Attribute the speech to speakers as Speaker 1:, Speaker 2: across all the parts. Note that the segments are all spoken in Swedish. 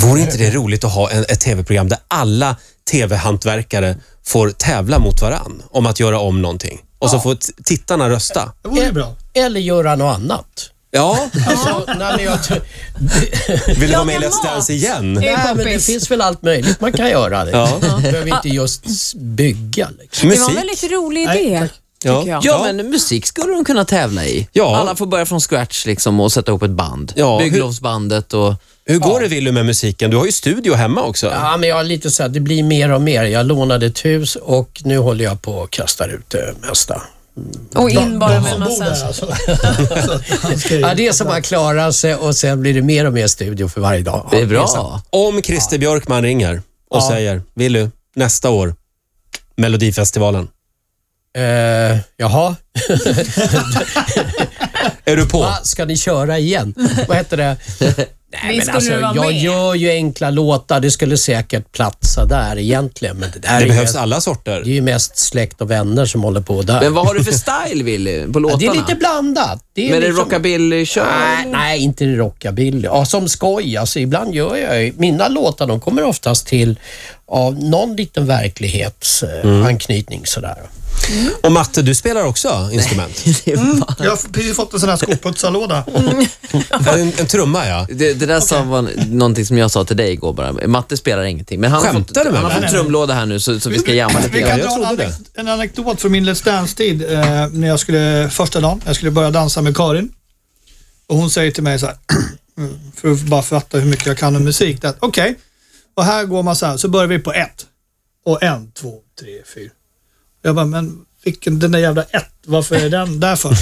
Speaker 1: Vore inte det roligt att ha en, ett tv-program där alla tv-hantverkare får tävla mot varann om att göra om någonting? Och så får t- tittarna rösta.
Speaker 2: Det
Speaker 3: Eh,
Speaker 2: vore ju bra.
Speaker 3: Eller göra något annat.
Speaker 1: Ja,
Speaker 3: Alltså, nej, men jag, tror-
Speaker 1: vill du vara med i
Speaker 4: Laga
Speaker 1: Let's
Speaker 4: mat.
Speaker 1: Dance igen?
Speaker 4: Eh,
Speaker 3: nej, men det
Speaker 4: kompis.
Speaker 3: finns väl allt möjligt man kan göra. Det.
Speaker 1: Ja.
Speaker 3: behöver inte just s- bygga. Liksom.
Speaker 4: Det var en
Speaker 1: Musik?
Speaker 4: väldigt rolig
Speaker 2: Nej,
Speaker 4: idé.
Speaker 2: tack.
Speaker 1: Ja.
Speaker 4: tycker
Speaker 1: Ja.
Speaker 4: jag.
Speaker 5: Ja, men musik skulle de kunna tävla i.
Speaker 1: Ja.
Speaker 5: Alla får börja från scratch liksom och sätta ihop ett band.
Speaker 1: Ja, hur-
Speaker 5: Bygglovsbandet och...
Speaker 1: Hur går det Willy med musiken? Du har ju studio hemma också.
Speaker 3: Ja, men jag är lite så här, det blir mer och mer. Jag lånade ett hus och nu håller jag på att kasta ut det mesta.
Speaker 4: Och in bara
Speaker 2: De
Speaker 4: med en
Speaker 2: som bor där
Speaker 4: massa...
Speaker 2: alltså. Så att han ska ju-
Speaker 3: Ja, det är som att klara sig och sen blir det mer och mer studio för varje dag.
Speaker 5: Det är
Speaker 3: Ja, sant.
Speaker 5: bra.
Speaker 1: Om Christer Björkman ringer och säger, Willy, nästa år, Melodifestivalen.
Speaker 3: Eh, jaha,
Speaker 1: Är du på?
Speaker 3: Va, ska ni köra igen? Vad heter det? Nej, alltså,
Speaker 4: Visst skulle du vara
Speaker 3: jag
Speaker 4: med?
Speaker 3: gör ju enkla låtar. Det skulle säkert platsa där egentligen, men det där
Speaker 1: Det
Speaker 3: är,
Speaker 1: behövs
Speaker 3: mest,
Speaker 1: alla
Speaker 3: det
Speaker 1: sorter.
Speaker 3: är ju mest släkt och vänner som håller på där.
Speaker 5: Men vad har du för style, Willy,
Speaker 3: Ja,
Speaker 5: på låtarna?
Speaker 3: det är lite blandat. Det är
Speaker 5: Men är det
Speaker 3: liksom...
Speaker 5: rockabilly-kör?
Speaker 3: Nej, Eh, nej, inte rockabilly. Ja, som skoj. Alltså, ibland gör jag ju- Mina låtar de kommer oftast till av någon liten verklighetsanknytning. Sådär.
Speaker 1: Och Matte, du spelar också instrument?
Speaker 5: Det,
Speaker 3: Mm.
Speaker 5: var-
Speaker 2: Jag har precis fått en sån här skoputsarlåda.
Speaker 1: En, en trumma, ja.
Speaker 5: det, det där sa var någonting som jag sa till dig igår bara. Matte spelar ingenting. Men han har fått,
Speaker 1: Skämtar du med
Speaker 5: han har
Speaker 1: mig?
Speaker 5: fått en trumlåda här nu så, så vi ska jamma lite
Speaker 2: Vi
Speaker 5: grann.
Speaker 2: kan
Speaker 1: jag
Speaker 2: dra en,
Speaker 1: trodde
Speaker 2: anek- en anekdot från min Let's Dance-tid. Eh, när jag skulle, första dagen, jag skulle börja dansa med Karin. Och hon säger till mig så här, mm, för att bara fatta hur mycket jag kan om musik. att Okej, och här går man så här, så börjar vi på ett. Och en, två, tre, fyra. Jag bara, men vilken, den där jävla ett, varför är den där för?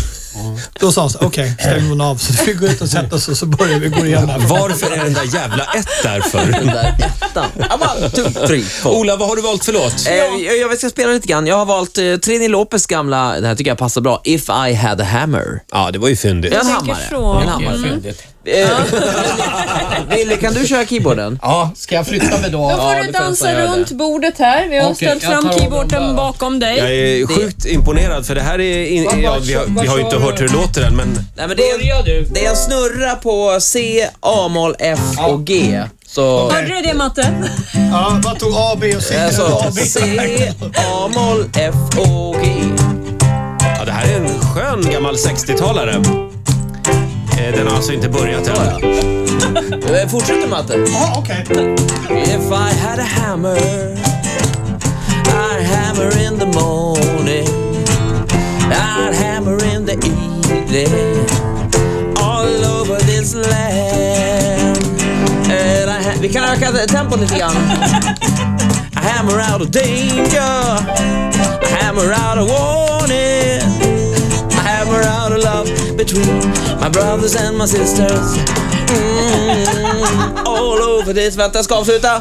Speaker 2: Då sa hon så här, okej, stäng hon av. Så vi går ut och sätter oss och så börjar vi gå igenom.
Speaker 1: Varför är den där jävla ett där för?
Speaker 5: Den där ettan. One, two, three, four.
Speaker 1: Ola, vad har du valt för låt?
Speaker 5: Eh, jag, jag ska spela lite grann. Jag har valt eh, Trini Lopez gamla, det här tycker jag passar bra, If I had a hammer.
Speaker 1: Ja, det var ju fyndigt.
Speaker 5: En
Speaker 4: tänker
Speaker 5: hammare.
Speaker 4: så.
Speaker 5: En hammare.
Speaker 3: Mm.
Speaker 5: Eh, Wille, kan du köra keyboarden?
Speaker 3: Ja, ska jag flytta mig då?
Speaker 4: Då får
Speaker 5: Ja,
Speaker 4: du
Speaker 5: det får jag
Speaker 4: dansa
Speaker 5: göra
Speaker 4: runt bordet här. Vi har
Speaker 3: Okej,
Speaker 4: ställt
Speaker 3: jag
Speaker 4: fram
Speaker 3: tar av dem där,
Speaker 4: keyboarden
Speaker 3: va?
Speaker 4: bakom dig.
Speaker 1: Jag är sjukt imponerad för det här är... In, ja, vi, har, vi har ju inte hört hur det låter än, men...
Speaker 5: Nej, men det, är
Speaker 3: Börja du.
Speaker 5: en, det är en snurra på C, A-moll, F och G. Så...
Speaker 4: Hörde du det Matte?
Speaker 2: Ja, man tog A, B och C.
Speaker 5: Alltså,
Speaker 2: A, B.
Speaker 5: C, A-moll, F och G.
Speaker 1: Ja, det här är en skön gammal 60-talare. Eh, Den har alltså inte börjat än.
Speaker 5: Eh, Fortsätter matten.
Speaker 2: Ja, okej.
Speaker 5: If I had a hammer, I'd hammer in the morning, I'd hammer in the evening, all over this land. And I ha- vi kan öka tempot lite grann. I hammer out of danger, I hammer out of warning, I hammer out of love between my brothers and my sisters. Mm, all over this. Vänta, jag ska avsluta.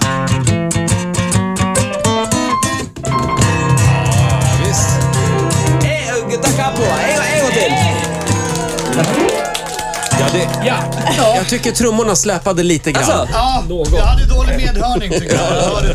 Speaker 1: Ja, visst.
Speaker 5: Eh, Tacka på. En en gång till.
Speaker 1: Ja, det, Jag tycker trummorna släpade lite grann.
Speaker 5: Alltså,
Speaker 2: Ja, jag hade dålig medhörning tycker jag.